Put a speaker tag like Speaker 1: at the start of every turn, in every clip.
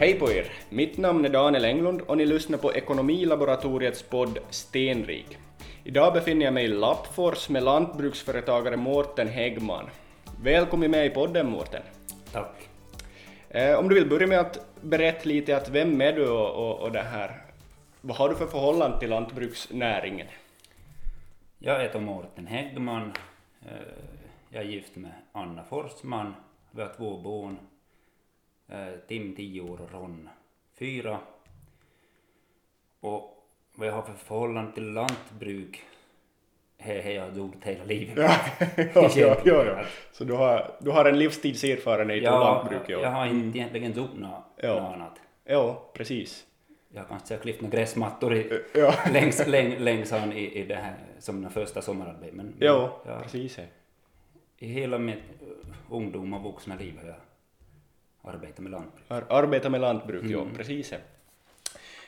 Speaker 1: Hej på er! Mitt namn är Daniel Englund och ni lyssnar på Ekonomilaboratoriets podd Stenrik. Idag befinner jag mig i Lappfors med lantbruksföretagare Mårten Häggman. Välkommen med i podden Mårten!
Speaker 2: Tack.
Speaker 1: Eh, Om du vill börja med att berätta lite att vem är du och, och, och det här. Vad har du för förhållande till lantbruksnäringen?
Speaker 2: Jag heter Mårten Häggman. Eh, Jag är gift med Anna Forsman. Vi har två barn. Eh, Tim 10 år och Ron 4. Och vad jag har för förhållande till lantbruk, det har jag gjort hela livet.
Speaker 1: Så du har, du har en livstidserfarenhet av lantbruk?
Speaker 2: jag, jag har inte egentligen gjort något
Speaker 1: Ja.
Speaker 2: något annat.
Speaker 1: ja, precis.
Speaker 2: Jag kanske har klippt några gräsmattor i,
Speaker 1: Ja.
Speaker 2: längs, längs, längs han i, i det här, som den första sommararbeten. Men, men
Speaker 1: Ja,
Speaker 2: jag-
Speaker 1: precis.
Speaker 2: I hela mitt eh, ungdom och vuxna liv har jag arbetat med lantbruk.
Speaker 1: Ar arbeta med lantbruk, ja
Speaker 2: Mm.
Speaker 1: precis.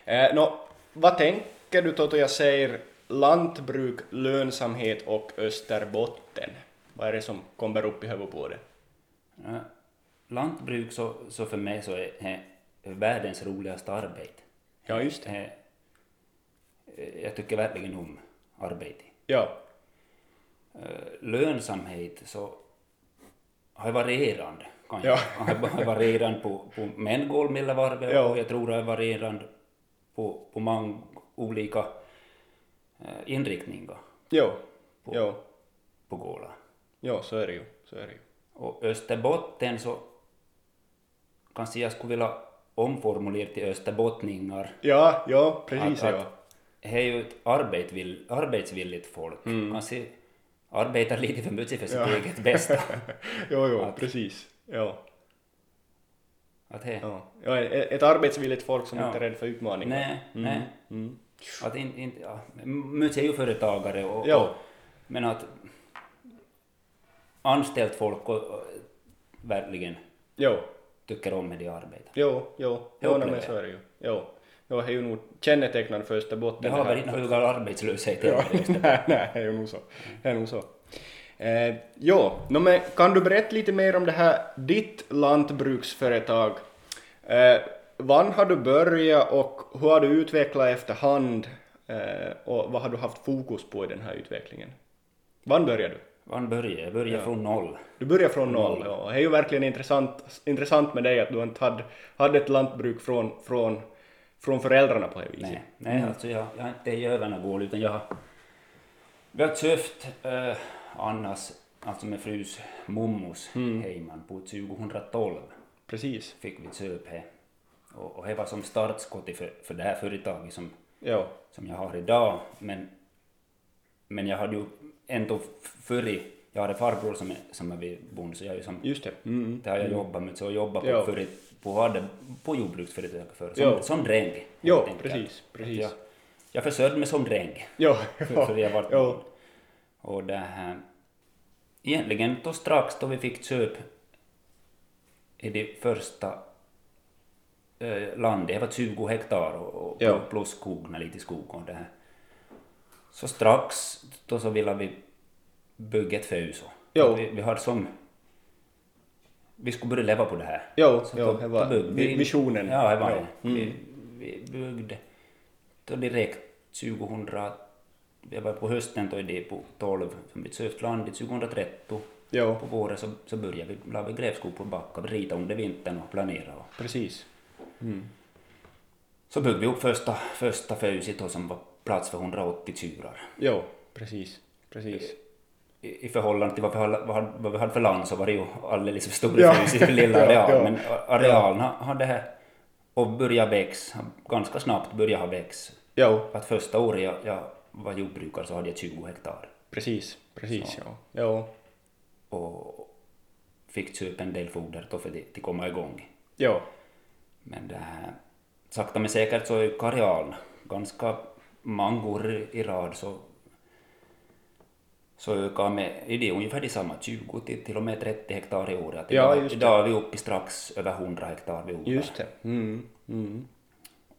Speaker 1: Eh, nå, vad tänker du då då jag säger lantbruk, lönsamhet och Österbotten? Vad är det som kommer upp i huvudet på dig?
Speaker 2: Eh, Lantbruk så, så för mig så är, är världens roligaste arbete.
Speaker 1: Ja, just det.
Speaker 2: Eh, eh, Jag tycker verkligen om arbete.
Speaker 1: Ja,
Speaker 2: Eh, Lönsamhet så har jag varierande. Kan
Speaker 1: Ja.
Speaker 2: jag. jag har varierande på, på männgolv mellan varven
Speaker 1: Ja.
Speaker 2: och jag tror jag har varierande på, på många olika eh, inriktningar
Speaker 1: ja, ja,
Speaker 2: på gården.
Speaker 1: ja, så är det ju. Så är det ju.
Speaker 2: Och Österbotten så kanske jag skulle vilja omformulera till österbottningar.
Speaker 1: Ja, ja, precis.
Speaker 2: att,
Speaker 1: ja.
Speaker 2: att det är ju ett arbetvill, arbetsvilligt folk.
Speaker 1: Mm.
Speaker 2: Kanske arbetar lite för mycket för sitt eget bästa.
Speaker 1: jo, jo, precis. Ja,
Speaker 2: Att det,
Speaker 1: ja. ja, e- ett arbetsvilligt folk som
Speaker 2: Ja.
Speaker 1: inte är rädd för utmaningar.
Speaker 2: Nej, nej.
Speaker 1: Mm.
Speaker 2: Att in, in, ja, mycket är ju företagare och,
Speaker 1: Ja.
Speaker 2: och men att anställt folk och, och verkligen
Speaker 1: Jo,
Speaker 2: tycker om hur de arbetar.
Speaker 1: jo, jo,
Speaker 2: Jag
Speaker 1: jo, nej,
Speaker 2: upplever
Speaker 1: men så är det ju. Jo, jo, det är ju nog kännetecknande för Österbotten.
Speaker 2: Det
Speaker 1: det
Speaker 2: har
Speaker 1: här.
Speaker 2: väl inte högre arbetslöshet
Speaker 1: Ja,
Speaker 2: heller i Österbotten.
Speaker 1: nej, nej, det är nog så. Det är nog så. Eh, jo, nå men kan du berätta lite mer om det här ditt lantbruksföretag? Eh, vann har du börjat och hur har du utvecklat efterhand eh, och vad har du haft fokus på i den här utvecklingen? Vann började du?
Speaker 2: Man börjar, jag börjar från noll.
Speaker 1: Du börjar från noll, ja. och det är ju verkligen intressant, intressant med dig att du inte hade, hade ett lantbruk från, från, från föräldrarna på det viset.
Speaker 2: Nej, nej alltså jag, jag är inte i övernivån utan jag har, vi har köpt eh, Annas, alltså med frus mommos hemman på 2012
Speaker 1: Precis,
Speaker 2: fick vi köp här. Och, och det var som startskottet för, för det här företaget som,
Speaker 1: ja,
Speaker 2: som jag har idag. Men, men jag hade ju ändå förr, i- jag hade farbror som är, som är vid bonde så jag är ju som
Speaker 1: just det. Mm.
Speaker 2: det har jag jobbat med, så jag jobbar på,
Speaker 1: Ja.
Speaker 2: för, på, hade, på jordbruksföretag för, som,
Speaker 1: Ja.
Speaker 2: som dräng. helt
Speaker 1: Ja,
Speaker 2: enkelt.
Speaker 1: precis, precis.
Speaker 2: Jag, jag försörjde mig som dräng,
Speaker 1: Ja,
Speaker 2: för, för jag var
Speaker 1: ja,
Speaker 2: Och det här, egentligen då strax då vi fick köp i det första eh, landet, det var 20 hektar och, och
Speaker 1: Ja.
Speaker 2: plus skog, lite skog och det här. Så strax då så ville vi bygga ett hus.
Speaker 1: Jo.
Speaker 2: Vi, vi hade som, vi skulle börja leva på det här.
Speaker 1: Jo,
Speaker 2: Så
Speaker 1: jo,
Speaker 2: då-
Speaker 1: det var
Speaker 2: då byggde vi-
Speaker 1: visionen. Mm.
Speaker 2: Ja, det var
Speaker 1: Ja.
Speaker 2: det. Vi, vi byggde då direkt 2000, jag var på hösten då i det på 12, som vi sökt landet 2013.
Speaker 1: ja,
Speaker 2: På våren så, så började vi, la vi grävskopor på backen, vi ritade under vintern och planerade. och-
Speaker 1: precis. Mm.
Speaker 2: Så byggde vi upp första, första föset då som var plats för 180 tjurar.
Speaker 1: Ja, precis, precis.
Speaker 2: I, I förhållande till vad vi, hade, vad, hade, vad vi hade för land så var det ju alldeles för stora
Speaker 1: Ja.
Speaker 2: hus i den lilla
Speaker 1: Ja,
Speaker 2: arealen.
Speaker 1: ja.
Speaker 2: Men a- arealen har- har det här och börjat växa, ganska snabbt börjat ha växt.
Speaker 1: Ja,
Speaker 2: Att första året jag, jag var jordbrukare så hade jag 20 hektar
Speaker 1: precis, precis. Ja, ja,
Speaker 2: och fick köpa en del foder då för det- att komma igång.
Speaker 1: ja,
Speaker 2: Men det här, sakta men säkert så är ju karealen ganska många år i- i rad så så ökar med, är det ungefär detsamma, 20 till, till och med 30 hektar i år. Att
Speaker 1: Ja,
Speaker 2: idag,
Speaker 1: just det.
Speaker 2: idag är vi uppe i strax över 100 hektar vi odlar.
Speaker 1: just det. Mm, mm.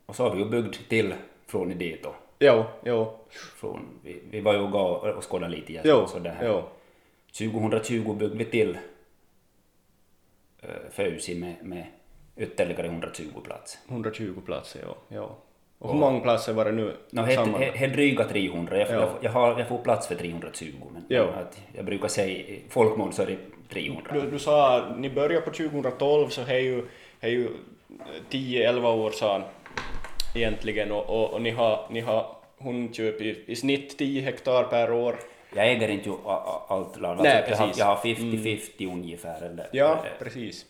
Speaker 2: Och så har vi ju byggt till från idé då.
Speaker 1: Ja, ja,
Speaker 2: Från, vi, vi var ju och, gav, och skådade lite igen.
Speaker 1: ja,
Speaker 2: så det här.
Speaker 1: ja,
Speaker 2: 2020 byggde vi till äh, Föusi eh, med, med ytterligare 120 platser.
Speaker 1: 120 platser, ja. ja. Och hur många platser var det nu
Speaker 2: No, helt,
Speaker 1: sammanlagt?
Speaker 2: he- helt dryga 300. Jag,
Speaker 1: Ja.
Speaker 2: jag, jag, har, jag får plats för 320, men
Speaker 1: Ja.
Speaker 2: att jag brukar säga i folkmål så är det 300.
Speaker 1: Du, du sa att ni började på 2012 så är ju, är ju 10-11 år sedan egentligen och, och, och ni har, ni har hundköp i, i snitt 10 hektar per år.
Speaker 2: Jag äger inte ju a- a- allt land. Alltså,
Speaker 1: Nej,
Speaker 2: jag, har,
Speaker 1: precis. Mm.
Speaker 2: jag har 50-50 ungefär. Eller,
Speaker 1: Ja,
Speaker 2: eller,
Speaker 1: precis.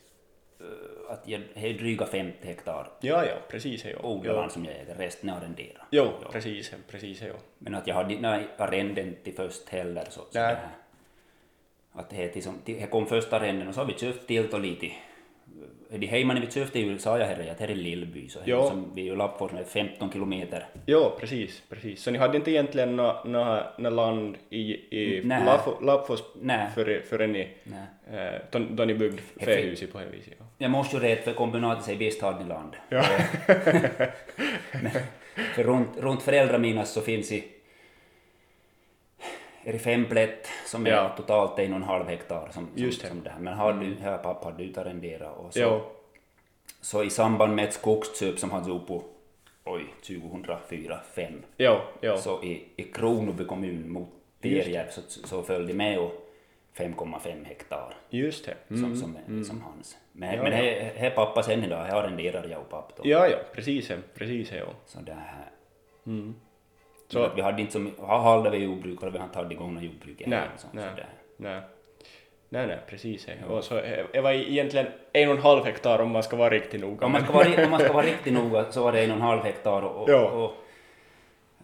Speaker 2: att jag har dryga 50 hektar
Speaker 1: Ja, ja, precis. hej, Ja, ja.
Speaker 2: odlarland som jag äger, resten är arrenderat.
Speaker 1: Jo, precis. hej, precis hej, ja.
Speaker 2: Men att jag har di- nej, arrenden till först heller. Så, så det
Speaker 1: Nej.
Speaker 2: här. Att det, är till som, till, det kom första arrenden och så har vi köpt till och lite. Det här man vi köpte ju sa jag herre att här är Lillby så här
Speaker 1: Ja.
Speaker 2: som vi är ju Lappfors med 15 kilometer.
Speaker 1: Jo, precis, precis. Så ni hade inte egentligen något nå, nå land i, i
Speaker 2: Nej.
Speaker 1: Laffo- Lappfos
Speaker 2: Nej.
Speaker 1: före, före ni,
Speaker 2: Nej.
Speaker 1: eh, då, då ni byggde fähuset på det viset? Ja.
Speaker 2: Jag måste ju rätt för kombinatet säger visst har ni land. Eh,
Speaker 1: Ja.
Speaker 2: Men, för runt, runt föräldrar mina så finns i är det fem plätt som är
Speaker 1: Ja.
Speaker 2: totalt en och en halv hektar som, som,
Speaker 1: Just det.
Speaker 2: som det här. Men har du, här pappa, du tar arrendera och så
Speaker 1: Jo,
Speaker 2: Så i samband med ett skogsköp som han tog på oj, 2004 5
Speaker 1: jo, jo.
Speaker 2: så i, i Kronoby kommun mot Terjärv så, så följde med och 5,5 hektar
Speaker 1: Just det.
Speaker 2: som, som, är-
Speaker 1: mm.
Speaker 2: som hans. Men, men he, he pappa sen idag, här arrenderar jag och pappa då.
Speaker 1: Ja, ja, precis, hej, precis, hej, ja.
Speaker 2: Så det här.
Speaker 1: Mm. Så-
Speaker 2: Så. vi hade inte som, har hade vi jordbrukare, vi har inte tagit igång något jordbruk än,
Speaker 1: Nej,
Speaker 2: så,
Speaker 1: nej.
Speaker 2: Så det här.
Speaker 1: Nej. Nej, nej, precis. hej. Och så eh, det var egentligen en och en halv hektar om man ska vara riktigt noga.
Speaker 2: Om man, ska vara, om man ska vara riktigt noga så var det en och en halv hektar och, och,
Speaker 1: Ja.
Speaker 2: och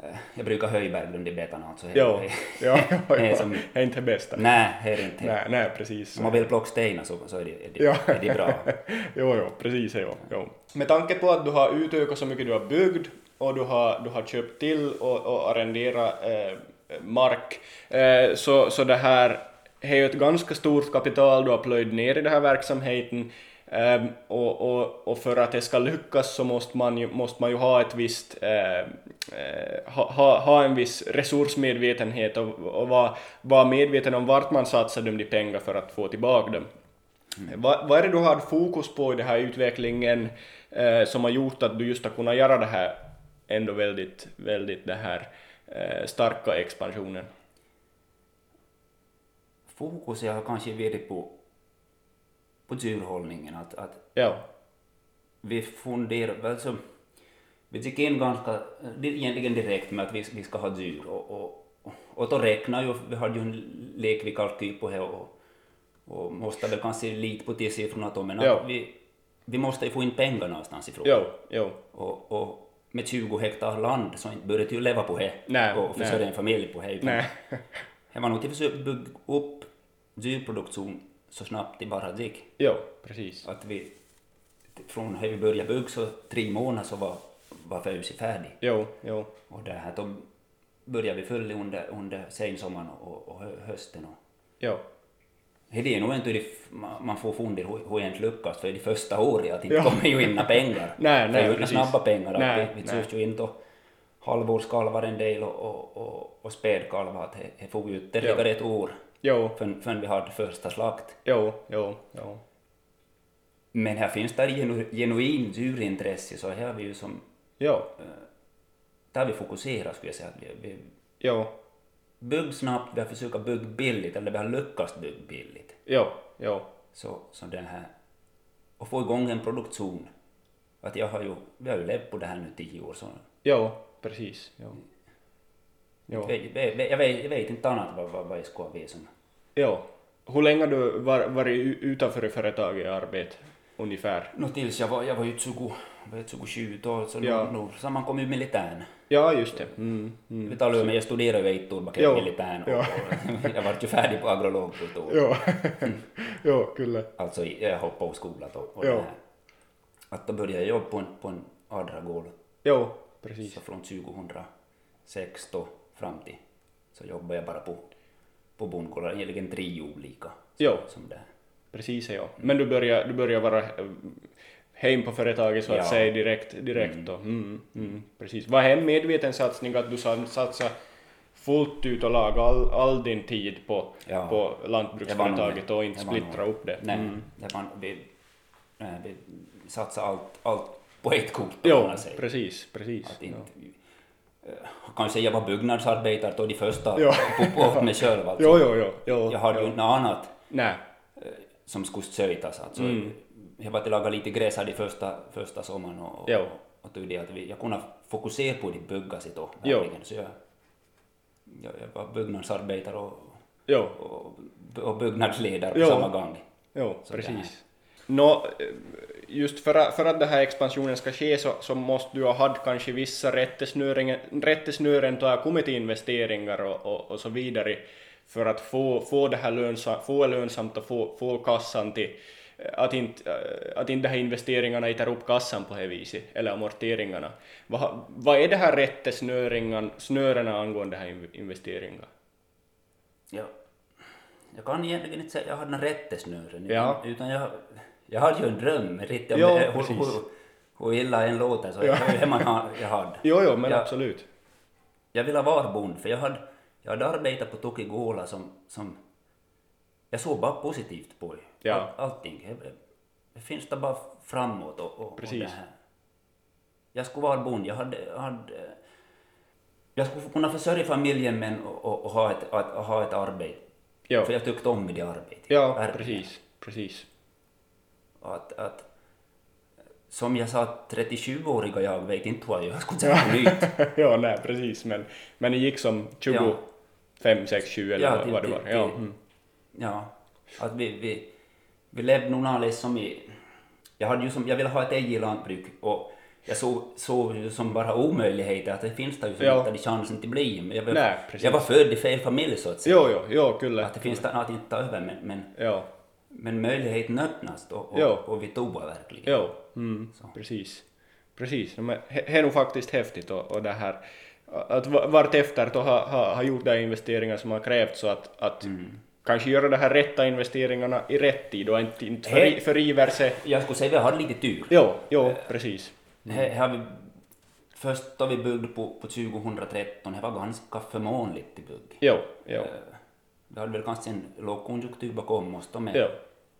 Speaker 2: eh, jag brukar höjberglund i betan alltså.
Speaker 1: Jo, ja, ja, ja.
Speaker 2: Det är som-
Speaker 1: Det är inte det bästa.
Speaker 2: Nej, det är det inte.
Speaker 1: Nej, nej, precis.
Speaker 2: Om man vill plocka stenar så, så är, det, är, det,
Speaker 1: Ja.
Speaker 2: är det bra.
Speaker 1: jo, jo, precis. Jo, jo. Med tanke på att du har utökat så mycket du har byggt och du har, du har köpt till och, och arrenderat eh, mark, eh, så, så det här är ju ett ganska stort kapital du har plöjt ner i den här verksamheten. Ehm, och, och, och för att det ska lyckas så måste man ju, måste man ju ha ett visst, eh, eh, ha, ha, ha en viss resursmedvetenhet och, och vara vara medveten om vart man satsar de där pengar för att få tillbaka dem. Mm. Vad, vad är det du har fokus på i den här utvecklingen eh, som har gjort att du just har kunnat göra det här ändå väldigt, väldigt det här eh, starka expansionen?
Speaker 2: Fokus har kanske varit på, på djurhållningen. Att, att
Speaker 1: Ja,
Speaker 2: vi funderar, alltså, vi gick in ganska, det är egentligen direkt med att vi, vi ska ha djur och, och, och då räknar ju, vi hade ju en lek vi kalkyl på det och, och måste väl kanske lite på de siffrorna då, men att
Speaker 1: Ja.
Speaker 2: vi, vi måste ju få in pengar någonstans ifrån.
Speaker 1: jo, jo,
Speaker 2: Och, och med 20 hektar land så inte började du ju leva på det
Speaker 1: Nej,
Speaker 2: och försörja
Speaker 1: nej.
Speaker 2: en familj på det. utan
Speaker 1: nej,
Speaker 2: Det var nog till försök bygga upp djurproduktion så snabbt det bara gick.
Speaker 1: jo, precis,
Speaker 2: Att vi, från när vi började bygga så tre månader så var, var födelsen färdig.
Speaker 1: jo, jo,
Speaker 2: Och det här, då började vi följa under, under sensommaren och, och hö- hösten. Och,
Speaker 1: jo,
Speaker 2: det är nog inte det, f- man man får fundera hur hur egentligen lyckas för det första året att inte
Speaker 1: Ja.
Speaker 2: kommer ju inga pengar.
Speaker 1: Nej,
Speaker 2: det är
Speaker 1: nej,
Speaker 2: ju inga
Speaker 1: precis.
Speaker 2: snabba pengar.
Speaker 1: Nej,
Speaker 2: att vi vi
Speaker 1: nej.
Speaker 2: sökte ju in då halvårskalvar en del och, och, och, och spädkalvar. att det- Det får ju ytterligare ett år
Speaker 1: jo,
Speaker 2: förrän, förrän vi hade första slakt.
Speaker 1: jo, jo, jo,
Speaker 2: Men här finns det genu, genuint djurintresse så här har vi ju som,
Speaker 1: jo,
Speaker 2: där har vi fokuserat skulle jag säga. att Vi, vi
Speaker 1: jo,
Speaker 2: bygg snabbt, vi har försökt bygga billigt, eller vi har lyckats bygga billigt.
Speaker 1: jo, jo,
Speaker 2: Så, så det här, och få igång en produktion. Att jag har ju, vi har ju levt på det här nu tio år så.
Speaker 1: jo, precis, jo, jo,
Speaker 2: Jag, jag, jag, vet, jag vet inte annat vad, vad, vad jag ska vara som.
Speaker 1: jo. Hur länge har du var, varit u- utanför företaget i arbete ungefär?
Speaker 2: Nå tills jag var, jag var ju 20, var jag 27 då, så
Speaker 1: Ja.
Speaker 2: ja. nu, så man kom ju militären.
Speaker 1: Ja, just det. Mm, mm.
Speaker 2: Vi talade ju om, jag studerade ju ett år bak i
Speaker 1: Jo.
Speaker 2: militären och,
Speaker 1: Ja.
Speaker 2: och jag var ju färdig på agrolog på ett år.
Speaker 1: Joo, joo kyllä.
Speaker 2: alltså jag hoppade av skolan då. Och
Speaker 1: Ja.
Speaker 2: det här. Att då började jag jobba på en, på en adragård.
Speaker 1: Joo, precis.
Speaker 2: Så från 2006 då fram till så jobbade jag bara på, på bondgårdar, egentligen tre olika.
Speaker 1: Joo,
Speaker 2: Som det. här.
Speaker 1: precis ja.
Speaker 2: Mm.
Speaker 1: Men du börjar, du börjar vara eh, hem på företaget så att
Speaker 2: Ja.
Speaker 1: säga direkt, direkt då. Mm, mm, precis. Var det en medveten satsning att du sa- satsade fullt ut och lagade all, all din tid på,
Speaker 2: Ja.
Speaker 1: på
Speaker 2: Det var nog det.
Speaker 1: lantbruksföretaget och inte
Speaker 2: Det var nog
Speaker 1: splittra upp det?
Speaker 2: Nej,
Speaker 1: Mm.
Speaker 2: det var, vi, eh, vi satsar allt, allt på ett kort. om
Speaker 1: Jo,
Speaker 2: man säger.
Speaker 1: precis, precis.
Speaker 2: Att inte, eh, Kanske jag var byggnadsarbetare då de första
Speaker 1: Ja.
Speaker 2: på, på mig själv. Alltså.
Speaker 1: Jo, jo, jo. jo
Speaker 2: Jag hade ju inte något annat
Speaker 1: Nej.
Speaker 2: som skulle söjtas. Alltså.
Speaker 1: Mm.
Speaker 2: Jag var till laga lite gräs här de första, första sommaren och,
Speaker 1: Jo.
Speaker 2: och, och tog det att vi, jag kunde fokusera på det bygga sig då.
Speaker 1: Jo.
Speaker 2: verkligen. Så jag, jag, jag var byggnadsarbetare och,
Speaker 1: Jo,
Speaker 2: och, och byggnadsledare på
Speaker 1: Jo.
Speaker 2: samma gång.
Speaker 1: jo
Speaker 2: Så
Speaker 1: precis. Nå, eh, just för att, för att den här expansionen ska ske så, så måste du ha haft kanske vissa rättesnören, rättesnören då har kommit till investeringar och, och, och så vidare för att få, få det här lönsa, få det lönsamt och få, få kassan till eh, att inte, eh, att inte de här investeringarna äter upp kassan på det här viset, eller amorteringarna. Vad, ha- vad är det här rättesnöringen, snörena angående här inv- investeringar?
Speaker 2: Jag, jag kan egentligen inte säga att jag hade några rättesnören, utan,
Speaker 1: Ja.
Speaker 2: utan jag, jag hade ju en dröm riktigt om
Speaker 1: Ja,
Speaker 2: det, hur,
Speaker 1: precis.
Speaker 2: hur, hur illa en låter, så jag, det man har, jag hade.
Speaker 1: Jo, jo, men
Speaker 2: Ja.
Speaker 1: absolut.
Speaker 2: Jag ville vara bonde, för jag hade, jag hade arbetat på Tokigola som, som... Jag såg bara positivt på det.
Speaker 1: Ja.
Speaker 2: All, allting. Det- Det finns det bara framåt och, och, och
Speaker 1: Precis.
Speaker 2: det här. Jag skulle vara bonde, jag hade... Jag, hade, jag skulle kunna försörja familjen men och, och, och ha, ett, att, att ha ett arbete.
Speaker 1: Jo.
Speaker 2: För jag tyckte om det arbetet.
Speaker 1: Ja,
Speaker 2: Verkligen.
Speaker 1: precis, precis.
Speaker 2: Att, att, som jag sa, 37-åriga jag vet inte vad jag skulle säga på nytt.
Speaker 1: ja, nej, precis, men, men det gick som 25, 6, 20 eller
Speaker 2: Ja,
Speaker 1: vad,
Speaker 2: till-
Speaker 1: vad det var.
Speaker 2: till-
Speaker 1: Ja,
Speaker 2: till-
Speaker 1: mm.
Speaker 2: Ja, att vi, vi, vi levde nog något liksom i... Jag, hade ju som, jag ville ha ett eget lantbruk och jag såg, såg ju som bara omöjligheter, att det finns det ju som
Speaker 1: Ja.
Speaker 2: inte hade chansen till bli. Men jag, var-
Speaker 1: Nej, precis.
Speaker 2: jag var född i fel familj så att säga.
Speaker 1: Jo, jo, jo, kyllä.
Speaker 2: Att det finns det något inte ta över, men, men,
Speaker 1: Ja,
Speaker 2: men möjligheten öppnas och, och,
Speaker 1: Ja.
Speaker 2: och vi tog det verkligen.
Speaker 1: jo, mm, precis. Precis, no, men he- he är nog faktiskt häftigt och, och det här att va- vartefter då har ha, ha gjort de här investeringar som har krävts så att, att kanske göra de här rätta investeringarna i rätt tid och inte, inte för,
Speaker 2: Helt-
Speaker 1: föriver sig.
Speaker 2: Jag skulle säga att vi hade lite tur.
Speaker 1: Jo, jo, precis.
Speaker 2: Här, här vi, först då vi byggde på, på 2013, det var ganska förmånligt i bygg.
Speaker 1: Jo, jo,
Speaker 2: Vi hade väl kanske en lågkonjunktur bakom oss då med
Speaker 1: Ja.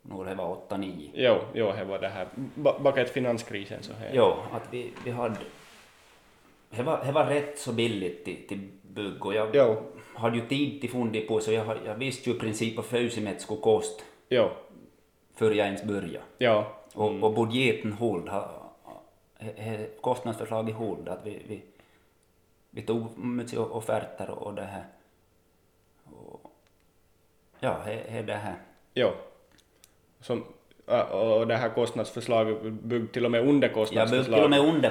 Speaker 2: när det var 8-9.
Speaker 1: jo, jo, det var det här ba- bakat finanskrisen så här.
Speaker 2: Jo, att vi, vi hade... Det var, det var rätt så billigt till, till bygg och jag
Speaker 1: Jo.
Speaker 2: hade ju tid till fundera på så jag, har- jag visste ju i princip vad födelsemet skulle kosta
Speaker 1: Jo,
Speaker 2: före jag ens började.
Speaker 1: jo,
Speaker 2: Och, och budgeten hålld, ha- he- he- kostnadsförslaget hålld, att vi, vi, vi tog mycket o- offerter och och det här. Och, ja, he, he det här.
Speaker 1: Jo. Som, äh, och det här kostnadsförslaget byggde till och med under
Speaker 2: Jag blev
Speaker 1: kostnadsförslaget.
Speaker 2: till och med under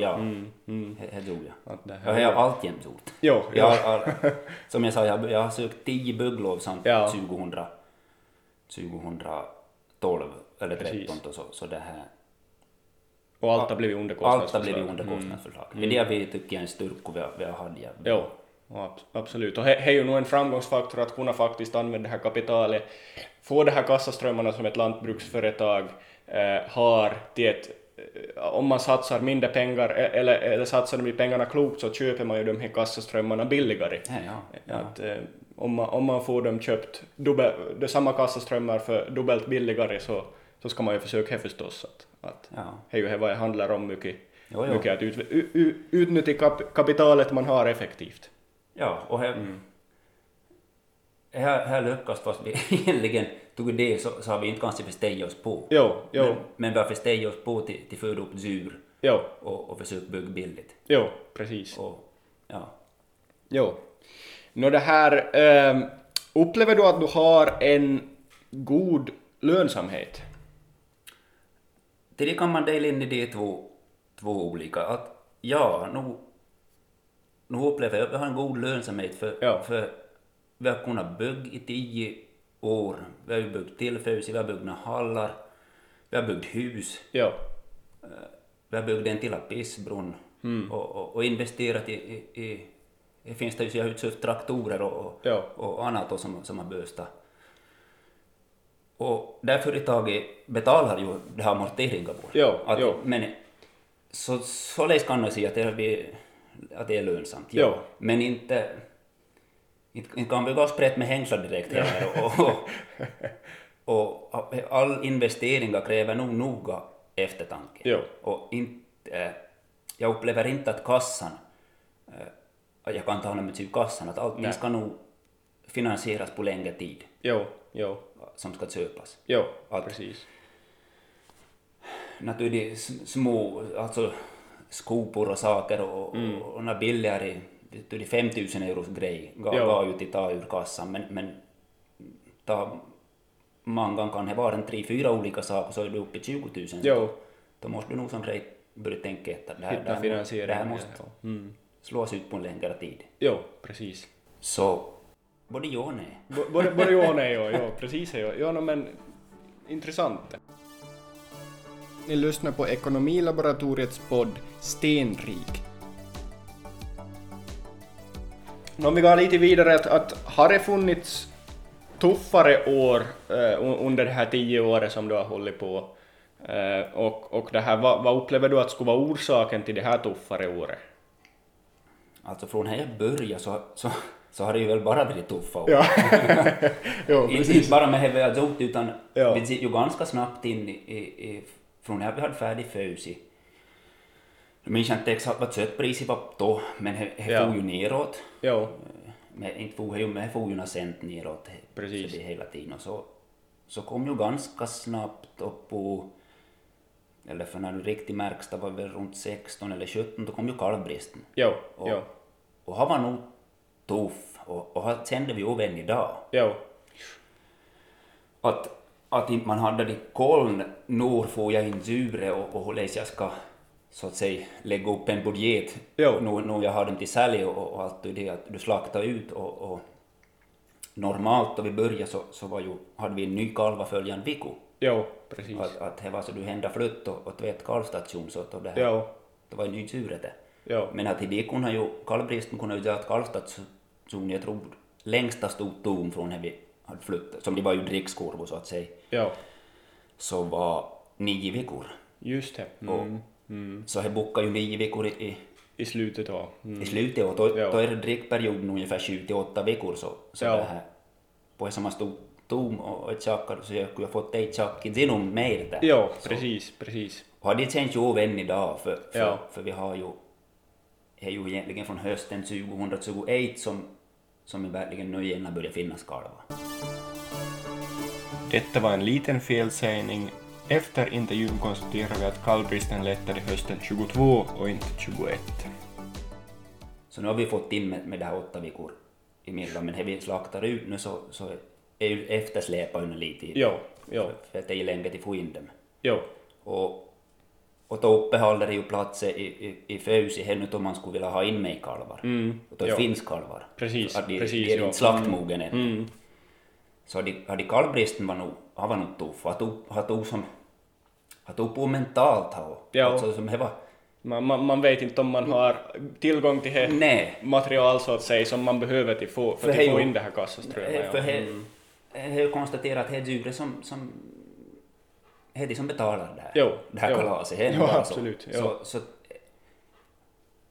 Speaker 1: Ja,
Speaker 2: ja.
Speaker 1: mm,
Speaker 2: He, he tror jag.
Speaker 1: Att det
Speaker 2: Ja,
Speaker 1: här,
Speaker 2: det har jag alltjämt gjort.
Speaker 1: Jo,
Speaker 2: Jag,
Speaker 1: ja.
Speaker 2: har- har- som jag sa, jag, jag har sökt 10 bygglov sedan
Speaker 1: Ja.
Speaker 2: 2000, 2012 eller
Speaker 1: Precis.
Speaker 2: 13 och så, så det här.
Speaker 1: Och allt har blivit under
Speaker 2: Allt har
Speaker 1: kostnadsförslaget.
Speaker 2: blivit under kostnadsförslag. Mm. Det har vi tycker jag är en styrka vi har, vi har haft. ja.
Speaker 1: Jo, och ab- absolut. Och det är ju nog en framgångsfaktor att kunna faktiskt använda det här kapitalet, få de här kassaströmmarna som ett lantbruksföretag eh, har till ett eh, om man satsar mindre pengar e- eller, eller satsar de pengarna klokt så köper man ju de här kassaströmmarna billigare.
Speaker 2: Ja, ja, ja.
Speaker 1: Att, eh, om, man, om man får dem köpt dubbel, de samma kassaströmmar för dubbelt billigare så, så ska man ju försöka det förstås. Att, att
Speaker 2: ja.
Speaker 1: det är ju det vad det handlar om mycket,
Speaker 2: Jo, jo.
Speaker 1: mycket att ut, u, u, utnyttja kap, kapitalet man har effektivt.
Speaker 2: Ja, och här,
Speaker 1: Mm.
Speaker 2: här, här lyckas fast vi egentligen tog det så, så har vi inte kanske förstejat oss på.
Speaker 1: Jo, jo,
Speaker 2: Men, men vi har förstejat oss på till, till föda upp djur
Speaker 1: jo,
Speaker 2: och, och försökt bygga billigt.
Speaker 1: jo, precis.
Speaker 2: Och, ja.
Speaker 1: Jo. Nå det här, ehm, upplever du att du har en god lönsamhet?
Speaker 2: Till det kan man dela in i det två, två olika. Att ja, nu, nu upplever jag att jag har en god lönsamhet för,
Speaker 1: Ja.
Speaker 2: för vi har kunnat bygga i tio år. Vi har ju byggt tillfällen, vi har byggt några hallar, vi har byggt hus.
Speaker 1: Jo,
Speaker 2: Vi har byggt en till pissbrunn
Speaker 1: Mm.
Speaker 2: och, och, och investerat i, i, i det finns det ju så jag har utköpt traktorer och, och,
Speaker 1: Ja.
Speaker 2: och annat då som, som har böstat. Och det här företaget betalar ju det här amorteringen på.
Speaker 1: Ja,
Speaker 2: att,
Speaker 1: ja.
Speaker 2: Men så, så läs kan man säga att det, blir, att det är lönsamt.
Speaker 1: Ja.
Speaker 2: Men inte, inte, inte kan vi gå och sprätta med hängslar direkt heller. Och, och, Och eh, all investeringar kräver nog noga eftertanke.
Speaker 1: Jo.
Speaker 2: Och inte, eh, jag upplever inte att kassan, eh, jag kan tala med till kassan, att allting
Speaker 1: Nej.
Speaker 2: ska nog finansieras på längre tid
Speaker 1: Jo, jo,
Speaker 2: som ska köpas.
Speaker 1: jo,
Speaker 2: Att-
Speaker 1: precis.
Speaker 2: naturligtvis sm- små, alltså skopor och saker och,
Speaker 1: Mm.
Speaker 2: och, och några billigare, vet du, det 5000 euros grej gav
Speaker 1: Ja.
Speaker 2: ga ut i ta ur kassan men, men ta mangan kan det vara en tre, fyra olika saker så är du uppe i 20 000.
Speaker 1: Jo,
Speaker 2: Då måste du nog som grej börja tänka att det här, det
Speaker 1: hitta
Speaker 2: här, må- det här
Speaker 1: finansiering.
Speaker 2: måste
Speaker 1: ja. Mm.
Speaker 2: slås ut på en längre tid.
Speaker 1: Jo, precis.
Speaker 2: Så både ja och nej.
Speaker 1: B- både, både ja och nej, ja, ja precis. Ja, ja no, men intressant. Ni lyssnar på Ekonomilaboratoriets podd Stenrik. Om vi går lite vidare, att, att har det funnits tuffare år eh, un- under det här tio året som du har hållit på? Eh, och, och det här, vad, vad upplever du att skulle vara orsaken till det här tuffare året?
Speaker 2: Alltså från när jag började så, så, så har det ju väl bara varit tuffa år.
Speaker 1: Ja, jo,
Speaker 2: Inte inte bara med det vi hade gjort utan
Speaker 1: Ja.
Speaker 2: vi gick ju ganska snabbt in i, i, i från när vi hade färdig fösi. Jag minns inte exakt vad köttpriset var då, men det det
Speaker 1: Ja.
Speaker 2: for ju neråt.
Speaker 1: Jo,
Speaker 2: Men inte for det ju, men det for ju några cent neråt.
Speaker 1: Precis.
Speaker 2: Så det hela tiden. Och så, så kom ju ganska snabbt upp på, eller för när du riktigt märks, det var väl runt 16 eller 17, då kom ju kalvbristen.
Speaker 1: jo,
Speaker 2: Och,
Speaker 1: jo,
Speaker 2: och han var nog tuff och, och han kände vi ju även idag
Speaker 1: jo.
Speaker 2: att, att inte man hade det koll när får jag in djuret och, och hur läs jag ska så att säga lägga upp en budget
Speaker 1: Jo.
Speaker 2: när, när jag har dem till sälj och, och allt det att du slaktar ut och, och normalt då vi började så, så var ju, hade vi en ny kalva följande vecka.
Speaker 1: Jo, precis.
Speaker 2: Att, att det var så du hände flytt och, och tvätt kalvstation så att då det här,
Speaker 1: Jo,
Speaker 2: det var ju ny djuret det.
Speaker 1: jo,
Speaker 2: Men att i det kunde ju, kalvbristen kunde ju göra att kalvstationen, jag tror, längsta stod tom från när vi hade flyttat, som det var ju drickskorv så att säga
Speaker 1: jo.
Speaker 2: så var nio veckor.
Speaker 1: Just det. Mm.
Speaker 2: Så jag bokade ju nio veckor i, i,
Speaker 1: I slutet av. Mm.
Speaker 2: i slutet och då,
Speaker 1: Ja.
Speaker 2: då är det drickperioden ungefär 7-8 veckor så, så
Speaker 1: Ja.
Speaker 2: det här. På det som man stod tom och ett tjackade så jag kunde ha fått ett tjack i genom mer där.
Speaker 1: Ja, precis, precis.
Speaker 2: Och det känns ju av än idag för, för,
Speaker 1: Ja.
Speaker 2: för vi har ju, är ju egentligen från hösten 2021 som, som är verkligen nu igen har börjat finnas kalvar.
Speaker 1: Detta var en liten felsägning. Efter intervjun konstaterar vi att kallbristen lättade hösten 22 och inte 21.
Speaker 2: Så nu har vi fått in med, med det här åtta veckor emellan, men när vi slaktar ut nu så, så är ju eftersläpande lite. i-
Speaker 1: Jo, jo,
Speaker 2: För att det är ju längre till få in dem.
Speaker 1: jo,
Speaker 2: Och, och då uppehåller det ju platser i, i, i fös i hemmet om man skulle vilja ha in mig kalvar. Och då
Speaker 1: Mm, ja.
Speaker 2: finns kalvar.
Speaker 1: Precis,
Speaker 2: Så att de,
Speaker 1: precis,
Speaker 2: De är
Speaker 1: ja. Mm.
Speaker 2: inte slaktmogen än. Så hade, hade kalvbristen var nog, han var nog tuff. Han tog, han tog som, han tog på mentalt han.
Speaker 1: Ja.
Speaker 2: Alltså som det var,
Speaker 1: Man, man, man vet inte om man har tillgång till det
Speaker 2: nej.
Speaker 1: material så att säga som man behöver till få, för
Speaker 2: För
Speaker 1: att
Speaker 2: hej
Speaker 1: få
Speaker 2: då.
Speaker 1: in det här kassaströmmen.
Speaker 2: Eh, För
Speaker 1: Ja. Mm.
Speaker 2: he, he har konstaterat att det är djuret som, som det är de som betalar det här,
Speaker 1: Jo,
Speaker 2: det här
Speaker 1: jo.
Speaker 2: kalaset. Det är
Speaker 1: Jo,
Speaker 2: bara så.
Speaker 1: absolut, jo.
Speaker 2: Så, så,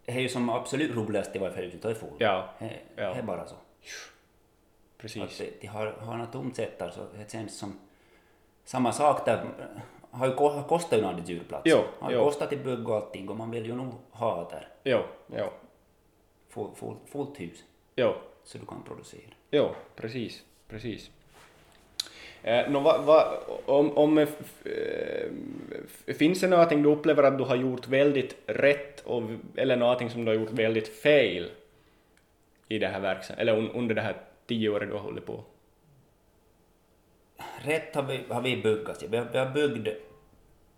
Speaker 2: det är ju som absolut roligast i varje fall utav får.
Speaker 1: ja,
Speaker 2: Det
Speaker 1: Ja.
Speaker 2: Eh, det är bara så. Att
Speaker 1: precis.
Speaker 2: de, de har, har något tomt sätt där, så det känns som samma sak där. Har ju ko- har kostat ju några djurplatser.
Speaker 1: Jo,
Speaker 2: har ju
Speaker 1: jo.
Speaker 2: kostat i bugg och allting och man vill ju nog ha där.
Speaker 1: Jo, jo,
Speaker 2: Full, full, fullt hus
Speaker 1: jo.
Speaker 2: så du kan producera.
Speaker 1: Jo, precis, precis. Eh, nå, va, va, om, om, eh, f- eh, f- finns det någonting du upplever att du har gjort väldigt rätt och, eller någonting som du har gjort väldigt fel i det här verksam, eller un, under det här tio året du har hållit på?
Speaker 2: rätt har vi, har vi byggt. Vi har, vi har byggt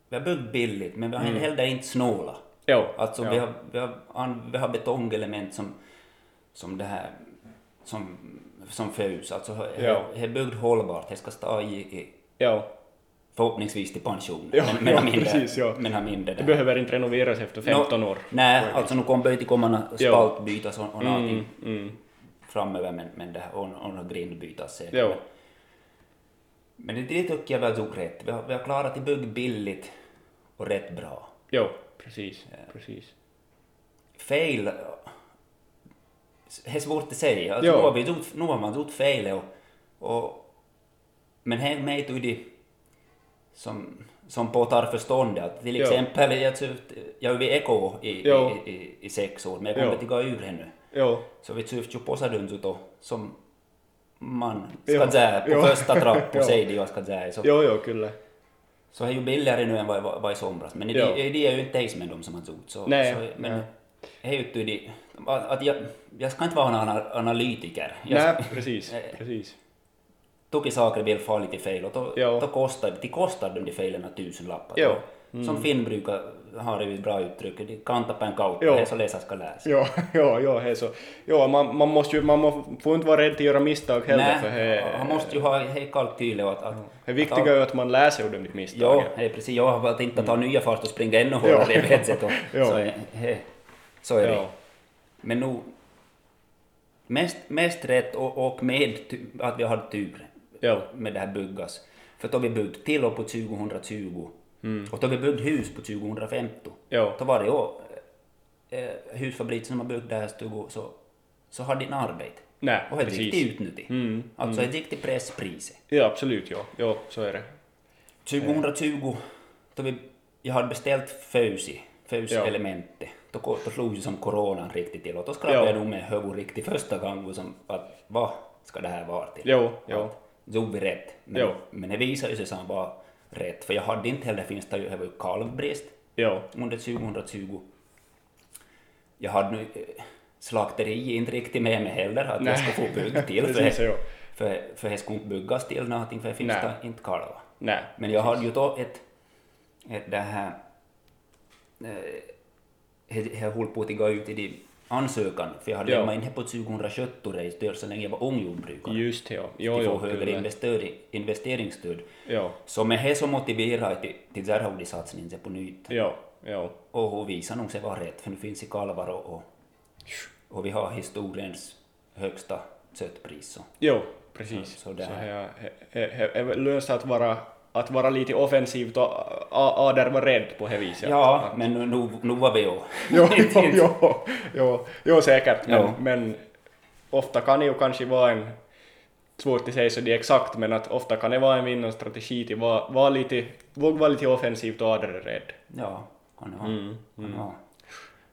Speaker 2: vi har byggt billigt, men vi har heller inte snåla.
Speaker 1: Jo,
Speaker 2: Alltså
Speaker 1: Mm. ja,
Speaker 2: vi, har, vi, har, an- vi har betongelement som, som det här, som, som föds. Alltså det
Speaker 1: Ja.
Speaker 2: det är byggt hållbart, det ska stå i, i
Speaker 1: jo,
Speaker 2: förhoppningsvis till pension.
Speaker 1: Ja,
Speaker 2: men
Speaker 1: ja,
Speaker 2: har mindre,
Speaker 1: precis, ja.
Speaker 2: men har mindre
Speaker 1: det
Speaker 2: där.
Speaker 1: behöver inte renoveras efter 15
Speaker 2: Nå,
Speaker 1: år.
Speaker 2: Nej, alltså nu kommer det inte komma några
Speaker 1: Ja.
Speaker 2: spaltbytas och, och någonting
Speaker 1: mm.
Speaker 2: framöver, men, men det här, och, och några grindbytas säkert.
Speaker 1: Jo,
Speaker 2: Men det, det tycker jag vi har gjort rätt. Vi har, vi har klarat att bygga billigt och rätt bra.
Speaker 1: jo, precis, precis.
Speaker 2: Fail, det är svårt att säga. Alltså,
Speaker 1: Ja.
Speaker 2: nu, har vi gjort, nu har man gjort fel och, och, Men häng med till de som, som påtar förståndet. Att till
Speaker 1: Ja.
Speaker 2: exempel, jag, syft- jag var vid Eko i,
Speaker 1: Ja.
Speaker 2: i, i, i sex år, men jag kom
Speaker 1: Ja.
Speaker 2: inte gå ur ännu.
Speaker 1: Jo.
Speaker 2: Så vi syfte ju på sig då som man
Speaker 1: Ja.
Speaker 2: ska säga på
Speaker 1: Ja.
Speaker 2: första trappan,
Speaker 1: Ja.
Speaker 2: säger de vad ska säga. Så,
Speaker 1: Jo, jo, kyllä.
Speaker 2: så är ju billigare nu än vad vad- vad i somras. Men
Speaker 1: Ja.
Speaker 2: det, det är ju inte det som är de som har gjort. Så,
Speaker 1: Nej,
Speaker 2: så, men
Speaker 1: nej.
Speaker 2: det är ju inte de, att, att jag, jag ska inte vara någon ana- analytiker. Jag,
Speaker 1: Nej, precis,
Speaker 2: Eh.
Speaker 1: precis.
Speaker 2: toki saker vill fara lite fel och då,
Speaker 1: Ja.
Speaker 2: då kostar, de kostar de de felen tusenlappar.
Speaker 1: Ja. Mm.
Speaker 2: Som Finn brukar ha det ett bra uttryck, de kantar på en kauppa,
Speaker 1: Ja.
Speaker 2: det är så läsaren ska läsa.
Speaker 1: Jo, jo, jo, he så. Jo, man, man måste ju, man må, får inte vara rädd att göra misstag heller, för
Speaker 2: Nej,
Speaker 1: he,
Speaker 2: han måste ju ha hej kalkyler och att... att
Speaker 1: det viktiga är ju att man lär sig ur de misstagen.
Speaker 2: Ja, hej, precis. Jag har inte ta nya fart och springa ännu hårdare i vetset. och-
Speaker 1: Mm. Ja.
Speaker 2: Så, är- hej, så är det.
Speaker 1: Ja.
Speaker 2: Men nog... Mest, mest rätt och, och med tu- att vi hade tur.
Speaker 1: Jo.
Speaker 2: med det här byggas. För då vi byggde till och på 2020
Speaker 1: Mm.
Speaker 2: och då vi byggde hus på 2050,
Speaker 1: Jo.
Speaker 2: då var det ju eh, husfabrik som har byggt det här stugan så, så har din arbete.
Speaker 1: Nej,
Speaker 2: och det gick
Speaker 1: precis. Mm,
Speaker 2: till utnyttjande. Alltså det gick till presspriset.
Speaker 1: Ja, absolut, jo. Jo, så är det.
Speaker 2: 2020, då vi, jag hade beställt Föusi,
Speaker 1: Ja.
Speaker 2: Föusi-elementet, då, ko- då slog ju som coronan riktigt till och då skrapade
Speaker 1: Ja.
Speaker 2: jag nog med huvudet riktigt första gången som att vad ska det här vara till?
Speaker 1: Jo, jo.
Speaker 2: Gjorde vi rätt? Men,
Speaker 1: Jo.
Speaker 2: men det visade sig som var rätt, för jag hade inte heller, finns det ju, det var ju kalvbrist
Speaker 1: Jo.
Speaker 2: under 2020. Jag hade nu eh, slakteri inte riktigt med mig heller, att jag
Speaker 1: Nej.
Speaker 2: skulle få bygga till,
Speaker 1: Precis,
Speaker 2: för,
Speaker 1: jo.
Speaker 2: för, för det skulle inte byggas till någonting, för det finns
Speaker 1: Nej.
Speaker 2: det inte kalvar.
Speaker 1: Nej.
Speaker 2: Men jag hade ju då ett, ett det här, eh, jag- jag höll på att gå ut i de ansökan, för jag hade
Speaker 1: Ja.
Speaker 2: lämnat in det på 2017 race, alltså så länge jag var ung jordbrukare.
Speaker 1: Just det, jo. Jo,
Speaker 2: De
Speaker 1: jo,
Speaker 2: får högre
Speaker 1: kyllä.
Speaker 2: investering, investeringsstöd.
Speaker 1: Jo,
Speaker 2: Så med det som motiverar till, till Zerhoudi-satsningen sig på nytt.
Speaker 1: jo, jo.
Speaker 2: Och hon visar nog sig vara rätt, för nu finns i kalvar och, och, och vi har historiens högsta köttpris. Så.
Speaker 1: Jo, precis.
Speaker 2: Så- så där.
Speaker 1: Så här, he, he, he, löst att vara, att vara lite offensivt och a, a, där var rädd på det viset.
Speaker 2: Ja, men nu, nu, nu var vi ju...
Speaker 1: jo, jo, jo, jo, jo, säkert. Men,
Speaker 2: Jo.
Speaker 1: men ofta kan det ju kanske vara en, svårt att säga så det är exakt, men att ofta kan det vara en vinnarstrategi till vara var lite, våg vara lite offensivt och aldrig rädd.
Speaker 2: Ja, kan det vara. Kan det vara.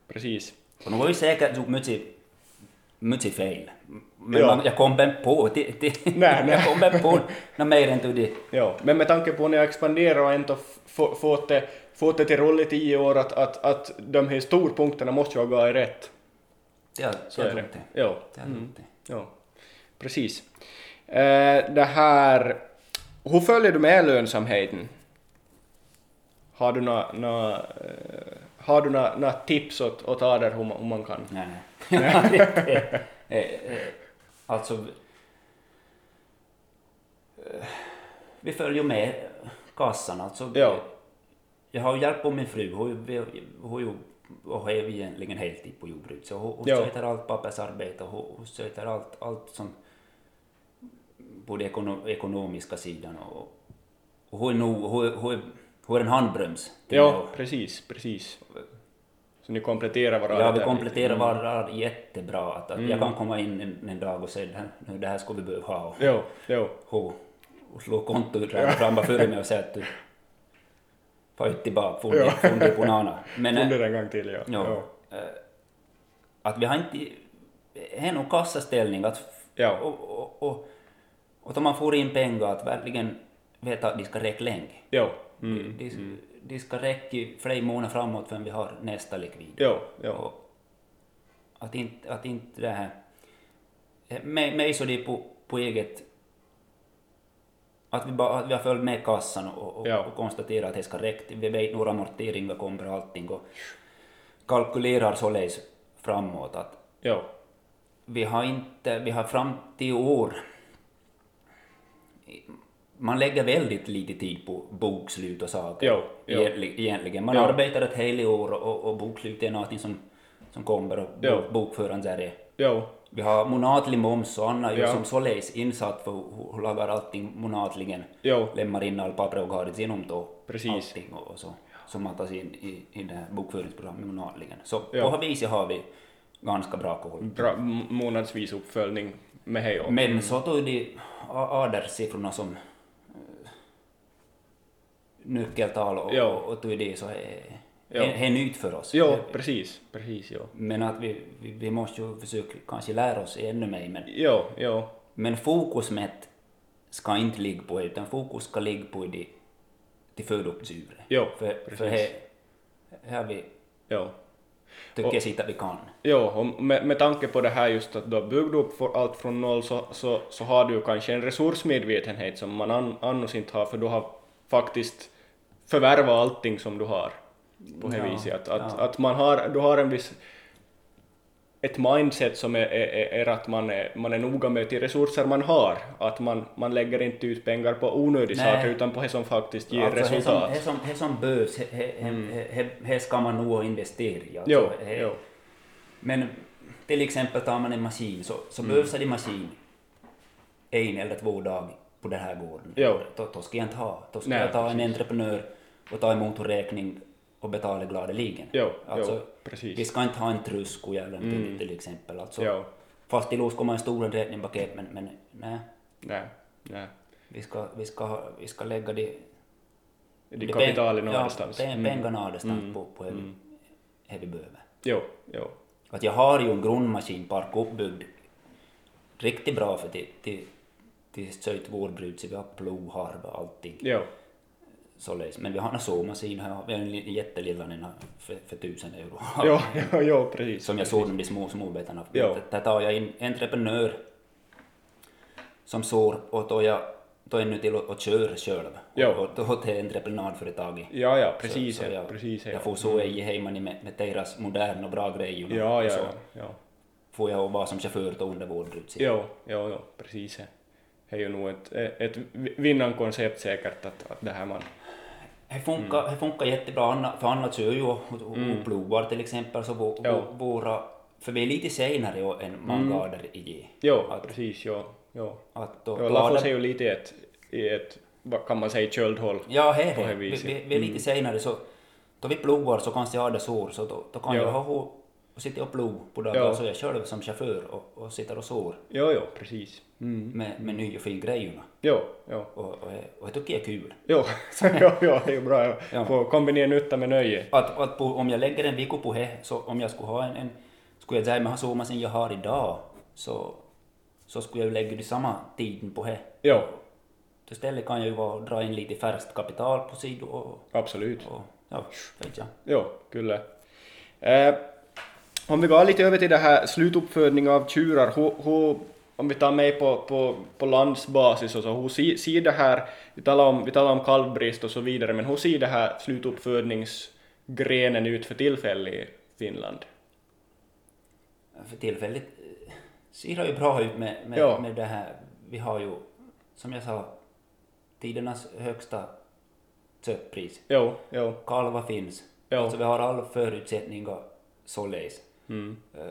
Speaker 1: Precis.
Speaker 2: Och nu var ju säkert gjort mycket, mycket typ fel. Men
Speaker 1: Ja.
Speaker 2: man, jag kom bara på... Det, det,
Speaker 1: Nej, nej.
Speaker 2: Jag kom bara på något mer än till det.
Speaker 1: Ja, men med tanke på när jag expanderar och ändå f- få- fått det, fått det till roll i tio år att, att, att de här storpunkterna måste jag gå i rätt.
Speaker 2: Det har
Speaker 1: Så
Speaker 2: jag
Speaker 1: är det. Mm.
Speaker 2: gjort
Speaker 1: Ja.
Speaker 2: det. Det har jag gjort det.
Speaker 1: Ja, precis. Eh, det här, hur följer du med lönsamheten? Har du några nå, eh, har du nå, nå tips åt, åt Ader hur man, hur man kan?
Speaker 2: Nej, nej. Det- eh, eh, alltså... eh, Vi följer med kassan. Alltså,
Speaker 1: Ja.
Speaker 2: Jag har ju hjälpt på min fru. Hon, är ju- hon, hon, hon är ju egentligen heltid på jordbruket. Så hon, hon
Speaker 1: Ja.
Speaker 2: sköter allt pappersarbete och hon, hon sköter allt, allt som... På den ekono, ekonomiska sidan. Och, och hon, är nog, hon, är- hon, är- hon är en handbroms. till mig
Speaker 1: Ja,
Speaker 2: och-
Speaker 1: precis, precis. Så ni kompletterar varandra?
Speaker 2: Ja, vi
Speaker 1: där
Speaker 2: kompletterar
Speaker 1: lite.
Speaker 2: varandra jättebra. Att, att
Speaker 1: Mm.
Speaker 2: Jag kan komma in en, en dag och säga det här, nu, det här ska vi behöva ha. Och,
Speaker 1: Jo, jo,
Speaker 2: och, och slå kontoutdrag framför före mig och säga att du far inte tillbaka,
Speaker 1: Ja.
Speaker 2: fundi på nana. Men
Speaker 1: under
Speaker 2: äh,
Speaker 1: en gång till, ja.
Speaker 2: ja, äh, att vi har inte, det är nog kassaställning att, f-
Speaker 1: Ja.
Speaker 2: och, och, och, och då man får in pengar att verkligen veta att de ska räcka länge.
Speaker 1: Jo,
Speaker 2: De, de ska räcka i flera månader framåt förrän vi har nästa likvid.
Speaker 1: jo, jo,
Speaker 2: Och att inte, att inte det här... eh, Mig, mig så det är på, på eget... Att vi, bara, att vi har följt med kassan och, och,
Speaker 1: Ja.
Speaker 2: och konstaterat att det ska räcka. till. Vi vet några amorteringar kommer och allting och kalkylerar således framåt att
Speaker 1: jo,
Speaker 2: vi har inte, vi har fram till år man lägger väldigt lite tid på bokslut och saker
Speaker 1: Jo, jo.
Speaker 2: egentli- egentligen. Man
Speaker 1: Ja.
Speaker 2: arbetar ett helt år och, och bokslut är någonting som, som kommer och
Speaker 1: Jo.
Speaker 2: bok, bokföraren där är.
Speaker 1: jo,
Speaker 2: Vi har månatlig moms och Anna är ju
Speaker 1: Ja.
Speaker 2: som således insatt för hur hon lagar allting månatligen.
Speaker 1: jo,
Speaker 2: Lämnar in all papper och går igenom då
Speaker 1: Precis.
Speaker 2: allting och, och så. Som man tas in i, i det här bokföringsprogrammet månatligen. Så
Speaker 1: Ja.
Speaker 2: på det viset har vi ganska bra koll.
Speaker 1: bra m-
Speaker 2: Mm.
Speaker 1: månadsvis uppföljning med hej och.
Speaker 2: Men så tog de a- adersiffrorna som eh, nyckeltal och,
Speaker 1: Ja.
Speaker 2: och, och tog det så är
Speaker 1: Ja.
Speaker 2: det är nytt för oss.
Speaker 1: Ja, precis, precis, ja.
Speaker 2: Men att vi, vi, vi måste ju försöka kanske lära oss ännu mer. Men,
Speaker 1: Ja, ja,
Speaker 2: men fokus med ett ska inte ligga på det, utan fokus ska ligga på det, det föda upp djuret.
Speaker 1: Ja,
Speaker 2: för, för
Speaker 1: precis.
Speaker 2: här, här vi
Speaker 1: ja.
Speaker 2: tycker
Speaker 1: Och-
Speaker 2: jag sitter vi kan.
Speaker 1: Ja, och med, med tanke på det här just att du har byggt upp för allt från noll så, så, så har du ju kanske en resursmedvetenhet som man an, annars inte har för du har faktiskt förvärvat allting som du har på det
Speaker 2: Ja,
Speaker 1: viset. Att, att,
Speaker 2: ja.
Speaker 1: att man har, du har en viss ett mindset som är, är, är att man är, man är noga med de resurser man har, att man, man lägger inte ut pengar på onödiga
Speaker 2: Nej.
Speaker 1: saker utan på det som faktiskt ger
Speaker 2: Alltså, det som,
Speaker 1: resultat. Mm.
Speaker 2: det som, det som behövs, det- det- det- det- det ska man nog investera i. Alltså,
Speaker 1: Jo,
Speaker 2: det-
Speaker 1: jo,
Speaker 2: Men till exempel tar man en maskin så, så
Speaker 1: Mm.
Speaker 2: behövs det en maskin en eller två dagar på den här gården.
Speaker 1: Jo.
Speaker 2: Då, då ska jag inte ha. Då ska
Speaker 1: Nej,
Speaker 2: jag ta en entreprenör och ta emot en räkning och betala gladeligen.
Speaker 1: jo,
Speaker 2: alltså,
Speaker 1: jo,
Speaker 2: Vi
Speaker 1: precis.
Speaker 2: ska inte ha en trusko eller någonting till exempel. Alltså,
Speaker 1: Jo,
Speaker 2: Fast i Los kommer en stor räkningpaket men, men nej,
Speaker 1: nej, nej.
Speaker 2: vi ska, vi ska, ha- vi ska lägga det
Speaker 1: Det
Speaker 2: det
Speaker 1: kapitalet
Speaker 2: peng-
Speaker 1: någonstans. Mm.
Speaker 2: Ja, pe- pengarna någonstans på, på hur, vi- hur vi behöver.
Speaker 1: Jo, jo.
Speaker 2: Att jag har ju en grundmaskinpark uppbyggd riktigt bra för till, till, till söjt vårdbruk, så vi har plog, harva, allting.
Speaker 1: Jo,
Speaker 2: Således. Men vi har en såmaskin här, vi har en li- jättelilla en här för, för tusen euro.
Speaker 1: jo, jo, jo precis.
Speaker 2: Som jag såg de små, små bitarna.
Speaker 1: Ja.
Speaker 2: Där tar jag in entreprenör som sår och då jag då är nu till och, och kör själv.
Speaker 1: Ja.
Speaker 2: Och, och då till entreprenadföretaget.
Speaker 1: Ja, ja, precis.
Speaker 2: Så, så jag,
Speaker 1: precis Mm.
Speaker 2: jag får så i Heimani med, med deras moderna och bra grejer.
Speaker 1: ja, ja,
Speaker 2: Och så
Speaker 1: ja, ja,
Speaker 2: får jag vara som chaufför då under vårdrutsen.
Speaker 1: ja, ja, ja, precis. Det är ju nog ett, ett vinnarkoncept säkert att, att det här man...
Speaker 2: Det funkar, det funkar jättebra, Anna- för Anna kör ju och, och, och plogar till exempel. Så vå,
Speaker 1: Mm. Ja. Mm.
Speaker 2: vå, våra, för vi är lite senare än många andra i det.
Speaker 1: Jo,
Speaker 2: Att-
Speaker 1: precis, jo, jo.
Speaker 2: Att då,
Speaker 1: jo Lafos är ju lite i ett, i ett, vad kan man säga, köldhåll.
Speaker 2: Ja, här
Speaker 1: på det
Speaker 2: är vi,
Speaker 1: viset. Mm.
Speaker 2: vi, vi är lite senare så då vi plogar så kanske jag har det sår så då, då kan
Speaker 1: Ja.
Speaker 2: jag ha hå- och sitta och plog på dagar
Speaker 1: Ja.
Speaker 2: så jag själv som chaufför och, och sitter och sår
Speaker 1: Jo, jo, precis. Mm.
Speaker 2: med, med nya fina grejerna
Speaker 1: Jo, jo.
Speaker 2: och, och, och det tycker jag är kul.
Speaker 1: Jo, jo, jo, det är ju bra.
Speaker 2: Ja.
Speaker 1: Få kombinera nytta med nöje.
Speaker 2: Att, att på, om jag lägger en vecka på det, så om jag skulle ha en, en skulle jag säga men så man sen jag har idag så, så skulle jag ju lägga det samma tiden på det.
Speaker 1: Jo,
Speaker 2: Då istället kan jag ju vara, dra in lite färskt kapital på sidan och,
Speaker 1: absolut.
Speaker 2: och ja, vet jag.
Speaker 1: Jo, kyllä. Eh, om vi går lite över till det här slutuppfödning av tjurar, hur, hur, om vi tar med på, på, på landsbasis och så, hur ser ser det här, vi talar, om, vi talar om kalvbrist och så vidare, men hur ser det här slutuppfödningsgrenen ut för tillfället i Finland?
Speaker 2: för tillfället eh, ser det ju bra ut med, med,
Speaker 1: Ja.
Speaker 2: med det här. Vi har ju, som jag sa, tidernas högsta köttpris.
Speaker 1: Jo, jo,
Speaker 2: Kalvar finns.
Speaker 1: Ja.
Speaker 2: Alltså vi har alla förutsättningar således.
Speaker 1: mm,
Speaker 2: Eh,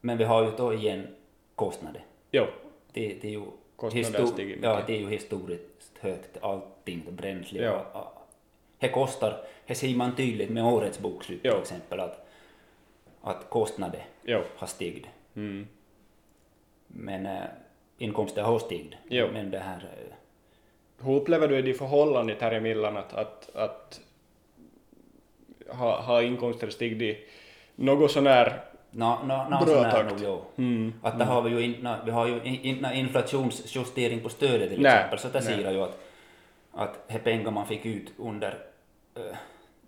Speaker 2: Men vi har ju då igen kostnader.
Speaker 1: jo,
Speaker 2: Det, det är ju
Speaker 1: Kostnader
Speaker 2: histo-
Speaker 1: stiger mycket.
Speaker 2: ja, det är ju historiskt högt, allting, bränsle
Speaker 1: Ja.
Speaker 2: och- och- Det kostar, det ser man tydligt med årets bokslut
Speaker 1: Ja.
Speaker 2: till exempel, att, att kostnader
Speaker 1: jo,
Speaker 2: har stigit.
Speaker 1: mm,
Speaker 2: Men äh, inkomsten har stigit.
Speaker 1: Jo.
Speaker 2: Men det här... eh,
Speaker 1: Hur upplever du det i förhållandet här emellan att, att, att ha, ha inkomster stigit något sånär?
Speaker 2: nå nå nå
Speaker 1: Bra
Speaker 2: sån här
Speaker 1: takt.
Speaker 2: nog, jo.
Speaker 1: Mm,
Speaker 2: Att det har vi ju inte, nå- vi har ju in- inte nå inflationsjustering på stödet till
Speaker 1: Nej,
Speaker 2: exempel, så det
Speaker 1: nej.
Speaker 2: ser jag ju att, att de pengar man fick ut under äh,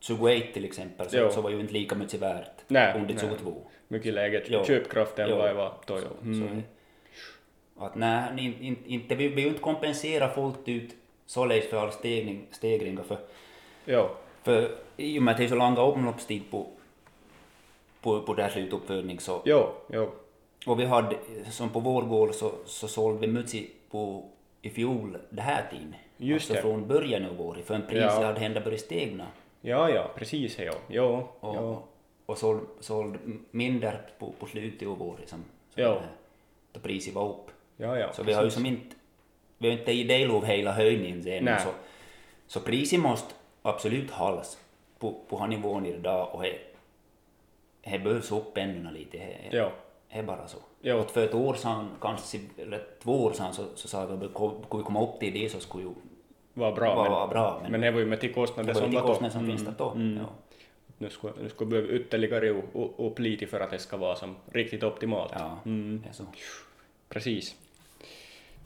Speaker 2: 28 till exempel,
Speaker 1: Jo.
Speaker 2: så, så var ju inte lika mycket värt
Speaker 1: Nej,
Speaker 2: under
Speaker 1: nej.
Speaker 2: 22.
Speaker 1: mycket läget,
Speaker 2: Jo.
Speaker 1: köpkraften
Speaker 2: Jo.
Speaker 1: var ju vad då, jo.
Speaker 2: Så, så, att nej, ni- in, inte, vi vi vill ju inte kompensera fullt ut således för all stegring, stegringar, för
Speaker 1: Jo,
Speaker 2: För i och med att det är så långa omloppstid på, på, på det här slutuppfödning så...
Speaker 1: jo, jo,
Speaker 2: Och vi hade, som på vår gård så, så sålde vi mycket på i fjol det här tiden.
Speaker 1: Just
Speaker 2: alltså
Speaker 1: det.
Speaker 2: från början av året, för en pris
Speaker 1: Ja.
Speaker 2: hade hända börjat stegna.
Speaker 1: ja, ja, precis, jo, jo,
Speaker 2: Och,
Speaker 1: jo,
Speaker 2: och sålde, sålde mindre på, på slutet av året som, som
Speaker 1: Ja.
Speaker 2: det här, då priset var upp.
Speaker 1: ja, ja,
Speaker 2: Så vi har ju som inte, vi har inte i del av hela höjningen sen.
Speaker 1: Nej.
Speaker 2: Så, så priset måste absolut hållas på, på den nivån idag och det- det behövs upp ännu lite. Det-
Speaker 1: jo,
Speaker 2: Det är bara så.
Speaker 1: Ja.
Speaker 2: Och för ett år sedan, kanske, eller två år sedan, så, så sa vi att skulle vi komma upp till det så skulle ju
Speaker 1: var bra.
Speaker 2: var, var bra. Men,
Speaker 1: men det var ju med till kostnader
Speaker 2: det var
Speaker 1: som
Speaker 2: lite
Speaker 1: var mm, då.
Speaker 2: kostnader som finns där då. Ja.
Speaker 1: Nu ska, nu ska behöva ytterligare och, och, och pliti för att det ska vara som riktigt optimalt.
Speaker 2: Ja,
Speaker 1: Mm.
Speaker 2: det är så.
Speaker 1: Precis.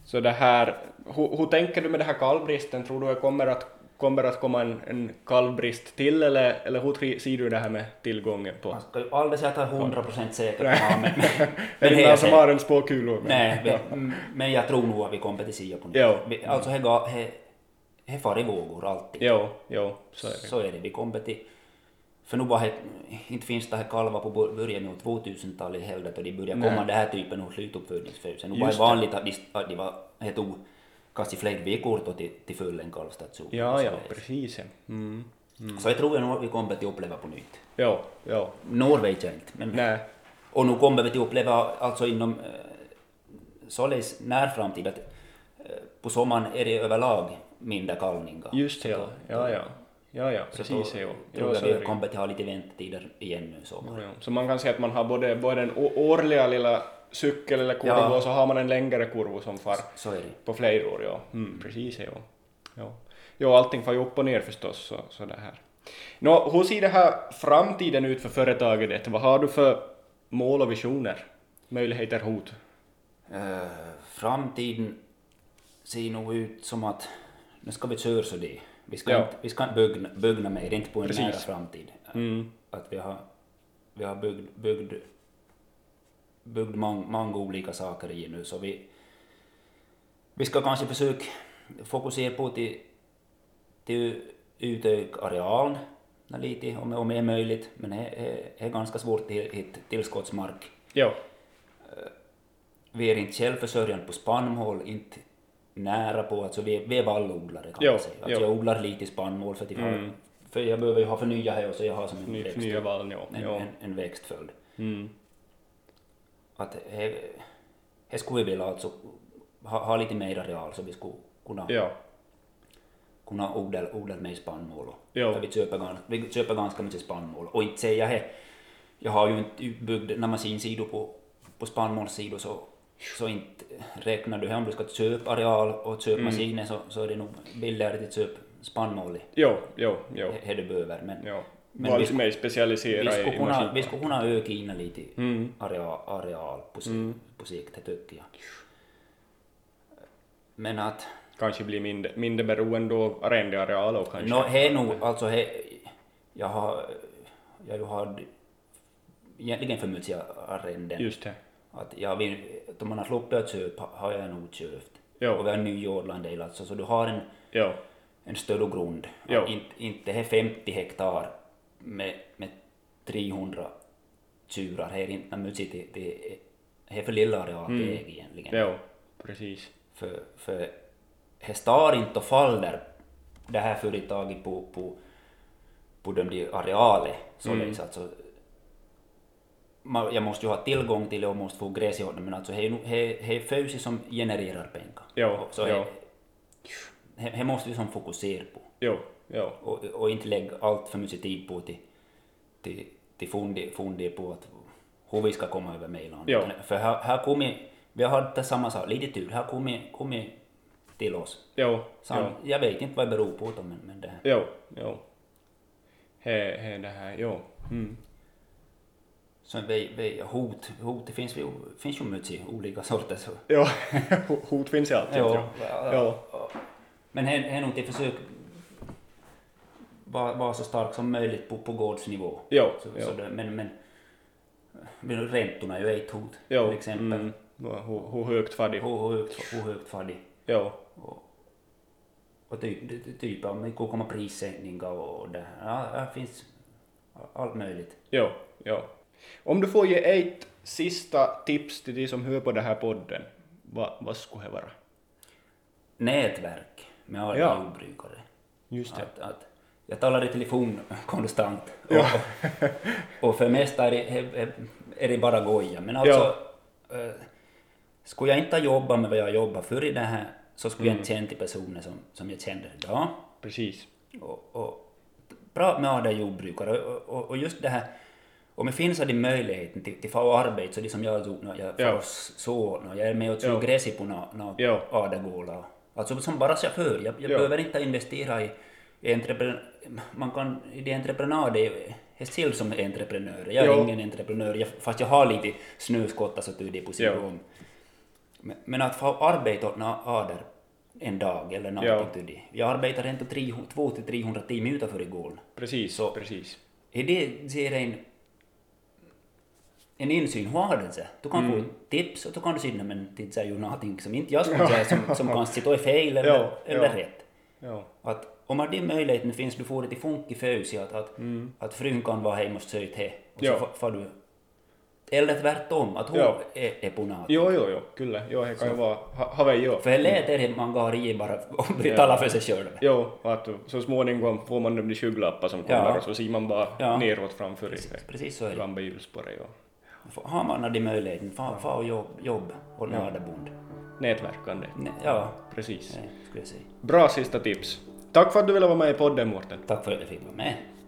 Speaker 1: Så det här, hur, hur tänker du med det här kalvbristen? Tror du det kommer att, kommer att komma en, en kalvbrist till eller, eller hur tri- ser du det här med tillgången på?
Speaker 2: Man ska ju aldrig säga att det är 100 procent säkert. Ja,
Speaker 1: Är
Speaker 2: men, men,
Speaker 1: det
Speaker 2: det är
Speaker 1: någon som
Speaker 2: säkert.
Speaker 1: har en spåkulor?
Speaker 2: Nej, vi- mm, men jag tror nog att vi kommer till sia på nytt.
Speaker 1: Ja.
Speaker 2: Vi- Alltså, det ga- det- det far i vågor alltid.
Speaker 1: Jo, jo, så är det.
Speaker 2: Så är det, vi kommer till... För nu var det, inte finns det här kalvar på bör- början av 2000-talet heller, då de började komma den här typen av slutuppfödningsfödsel. Nu var det
Speaker 1: Just det.
Speaker 2: vanligt att de, att de var, det tog kanske flera veckor då till, till full en kalvstation.
Speaker 1: Ja,
Speaker 2: Så
Speaker 1: ja,
Speaker 2: det-
Speaker 1: precis. ja. Mm.
Speaker 2: Så jag tror jag nog att vi kommer till uppleva på nytt.
Speaker 1: Jo, jo.
Speaker 2: Norr vet jag inte, men
Speaker 1: Nej,
Speaker 2: Och nu kommer vi till uppleva, alltså inom eh, således när framtid, att eh, på sommaren är det överlag mindre kalvningar.
Speaker 1: just det. Ja, ja, ja. Ja, ja,
Speaker 2: Så då
Speaker 1: precis. Jo. Jo,
Speaker 2: tror
Speaker 1: så
Speaker 2: jag
Speaker 1: är det
Speaker 2: vi kommer till ha lite väntetider igen nu i sommar.
Speaker 1: Ja, Så man kan säga att man har både, både den å- årliga lilla cykeln eller kurvan
Speaker 2: Ja.
Speaker 1: och så har man en längre kurva som far
Speaker 2: Så är det.
Speaker 1: på flera år. Ja. Mm, precis, ja. ja. Jo, allting far ju upp och ner förstås. Så, så det här. Nå, hur ser det här framtiden ut för företaget? ditt? Vad har du för mål och visioner? Möjligheter, hot?
Speaker 2: Eh, framtiden ser nog ut som att nu ska vi köra så det. Vi ska
Speaker 1: Ja.
Speaker 2: inte, vi ska inte bugna, bugna mer, inte på en
Speaker 1: Precis.
Speaker 2: nära framtid.
Speaker 1: Mm.
Speaker 2: Att vi har, vi har byggd, byggd, byggd mång- många olika saker i nu, så vi, vi ska kanske försöka fokusera på till, till utöka arealen lite, om, om det är möjligt, men det är- det är ganska svårt att hitta tillskottsmark
Speaker 1: Jo,
Speaker 2: vi är inte självförsörjande på spannmål, inte nära på, alltså vi, vi är vallodlare kan
Speaker 1: Jo,
Speaker 2: man säga. Alltså
Speaker 1: jo. Mm.
Speaker 2: jag odlar lite spannmål för att jag, har- för jag behöver ju ha förnya här och så jag har som en,
Speaker 1: ny,
Speaker 2: växt,
Speaker 1: nya val, ja.
Speaker 2: en,
Speaker 1: ja.
Speaker 2: en, en växtföljd.
Speaker 1: Mm.
Speaker 2: Att här, här skulle vi vilja alltså ha, ha lite mer areal så vi skulle kunna,
Speaker 1: Ja,
Speaker 2: kunna odla, odla mer spannmål. och-
Speaker 1: Jo.
Speaker 2: För vi köper, gans- vi köper ganska mycket spannmål och inte säga här, jag har ju inte utbyggd, när man ser sidor på, på spannmålssidor så, så inte räknar du här om du ska köpa areal och köpa maskiner så, så är det nog billigare att köpa spannmål i
Speaker 1: jo, jo, jo.
Speaker 2: här du behöver. Men
Speaker 1: jo.
Speaker 2: Eh, Men
Speaker 1: Var
Speaker 2: vi
Speaker 1: lite mer specialiserad
Speaker 2: vi skulle
Speaker 1: i
Speaker 2: kunna,
Speaker 1: maskin-
Speaker 2: vi skulle kunna öka in lite
Speaker 1: Mm.
Speaker 2: areal, areal på, si, på sikt, det tycker jag. Men att
Speaker 1: Kanske bli mindre, mindre beroende av arrendeareal och kanske.
Speaker 2: Nå, här nog, alltså här, jag har, jag ju har egentligen för mycket arrenden.
Speaker 1: Just det.
Speaker 2: Att jag vill, då man har sluppit att köpa har jag nog köpt.
Speaker 1: Jo.
Speaker 2: Och vi har nyodlat en del alltså, så du har en,
Speaker 1: Jo,
Speaker 2: en större grund.
Speaker 1: Jo.
Speaker 2: Inte, inte här 50 hektar med, med 300 tjurar, här är inte mycket, det, det är, här är för lilla areal mm. det är egentligen.
Speaker 1: jo, precis.
Speaker 2: För, för det står inte och faller det här företaget på, på, på de där arealer således alltså. Man, jag måste ju ha tillgång till det och måste få gräs i honom men alltså det är ju nog- det- det är fösi som genererar pengar.
Speaker 1: Jo,
Speaker 2: Och så
Speaker 1: jo.
Speaker 2: det- det- det måste vi som fokusera på
Speaker 1: Jo, jo,
Speaker 2: och, och inte lägga allt för mycket tid på till, till, till fundi, fundi på att hur vi ska komma över mejlan.
Speaker 1: Ja.
Speaker 2: För här, här kommer, vi har haft det samma sak, lite tur, här kommer, kommer till oss.
Speaker 1: jo,
Speaker 2: Så
Speaker 1: jo,
Speaker 2: Jag vet inte vad det beror på, då, men, men det här.
Speaker 1: jo, jo. He, he, det här, jo. Mm.
Speaker 2: Så vi, vi, hot, hot, det finns, ju- finns ju mycket olika sorter. Så.
Speaker 1: Jo, hot finns ju alltid.
Speaker 2: Jo,
Speaker 1: tror jag. jo.
Speaker 2: Men här här är nog till försök vara vara så stark som möjligt på, på gårdsnivå.
Speaker 1: Jo,
Speaker 2: Så,
Speaker 1: jo.
Speaker 2: Så det, men, men, men räntorna är ju ett hot
Speaker 1: jo.
Speaker 2: till exempel.
Speaker 1: Mm. Nå, Hur hur högt var det?
Speaker 2: hur, hur högt, hur högt var det?
Speaker 1: Jo,
Speaker 2: Och typ, typ om det kommer prissänkningar och det här. Ja, det finns allt möjligt.
Speaker 1: jo, jo. Om du får ge ett sista tips till de som hör på den här podden, vad, vad skulle det vara?
Speaker 2: Nätverk med alla
Speaker 1: Ja.
Speaker 2: jordbrukare.
Speaker 1: Just det.
Speaker 2: Att, att jag talar i telefon konstant. Och, och, och för det mesta är det, är det bara goja. Men alltså, eh, skulle jag inte ha jobbat med vad jag jobbar för i det här så skulle jag
Speaker 1: Mm.
Speaker 2: inte känna till personer som, som jag känner idag.
Speaker 1: Precis.
Speaker 2: och, och bra med andra jordbrukare och, och, och just det här om det finns den möjligheten till, till få arbete så det som jag gjorde när jag
Speaker 1: Ja.
Speaker 2: ja. så när jag är med och tog
Speaker 1: Ja.
Speaker 2: gräs i på några
Speaker 1: Ja.
Speaker 2: adagårdar Alltså som bara chaufför, jag, jag
Speaker 1: Ja.
Speaker 2: behöver inte investera i, i entreprenör, man kan, i det entreprenad är är Sill som är entreprenör, jag är
Speaker 1: Ja.
Speaker 2: ingen entreprenör, jag, fast jag har lite snöskottat så tydligt på
Speaker 1: Ja.
Speaker 2: sidan. Men, men att få arbeta åt några ader en dag eller någonting
Speaker 1: Ja.
Speaker 2: tydligt. Jag arbetar inte 200-300 timmar utanför i gården.
Speaker 1: Precis,
Speaker 2: Så.
Speaker 1: precis.
Speaker 2: Är det, ser en, en insyn har den sig. Du kan
Speaker 1: Mm.
Speaker 2: få tips och då kan du säga "Nej, men det är ju någonting som inte jag skulle säga som, som kanske då är fel eller,
Speaker 1: Ja,
Speaker 2: eller
Speaker 1: ja.
Speaker 2: rätt.
Speaker 1: Ja.
Speaker 2: Att om att den möjligheten finns, du får det till funk i fös, att, att, att frun kan vara hemma och söjt he, och
Speaker 1: Mm. Ja.
Speaker 2: så fa- far du. Eller tvärtom, att hon
Speaker 1: Ja.
Speaker 2: är, är på natten.
Speaker 1: Jo, jo, jo, kyllä. Joo, he kai vaan ha- havei joo.
Speaker 2: För det lät är att man går i bara och betalar för sig själv.
Speaker 1: Jo, att så småningom får man de där skygglappar som
Speaker 2: Ja.
Speaker 1: kommer och så ser man bara
Speaker 2: Ja.
Speaker 1: neråt framför sig.
Speaker 2: Precis så är det.
Speaker 1: Gamla hjulspåret, ja.
Speaker 2: Har man den möjligheten, fa, fa och jobb, jobb och nördebond.
Speaker 1: Nätverkande,
Speaker 2: Ja,
Speaker 1: precis.
Speaker 2: det skulle jag säga.
Speaker 1: Bra sista tips. Tack för att du ville vara med i podden, Mårten.
Speaker 2: Tack för att jag fick vara med.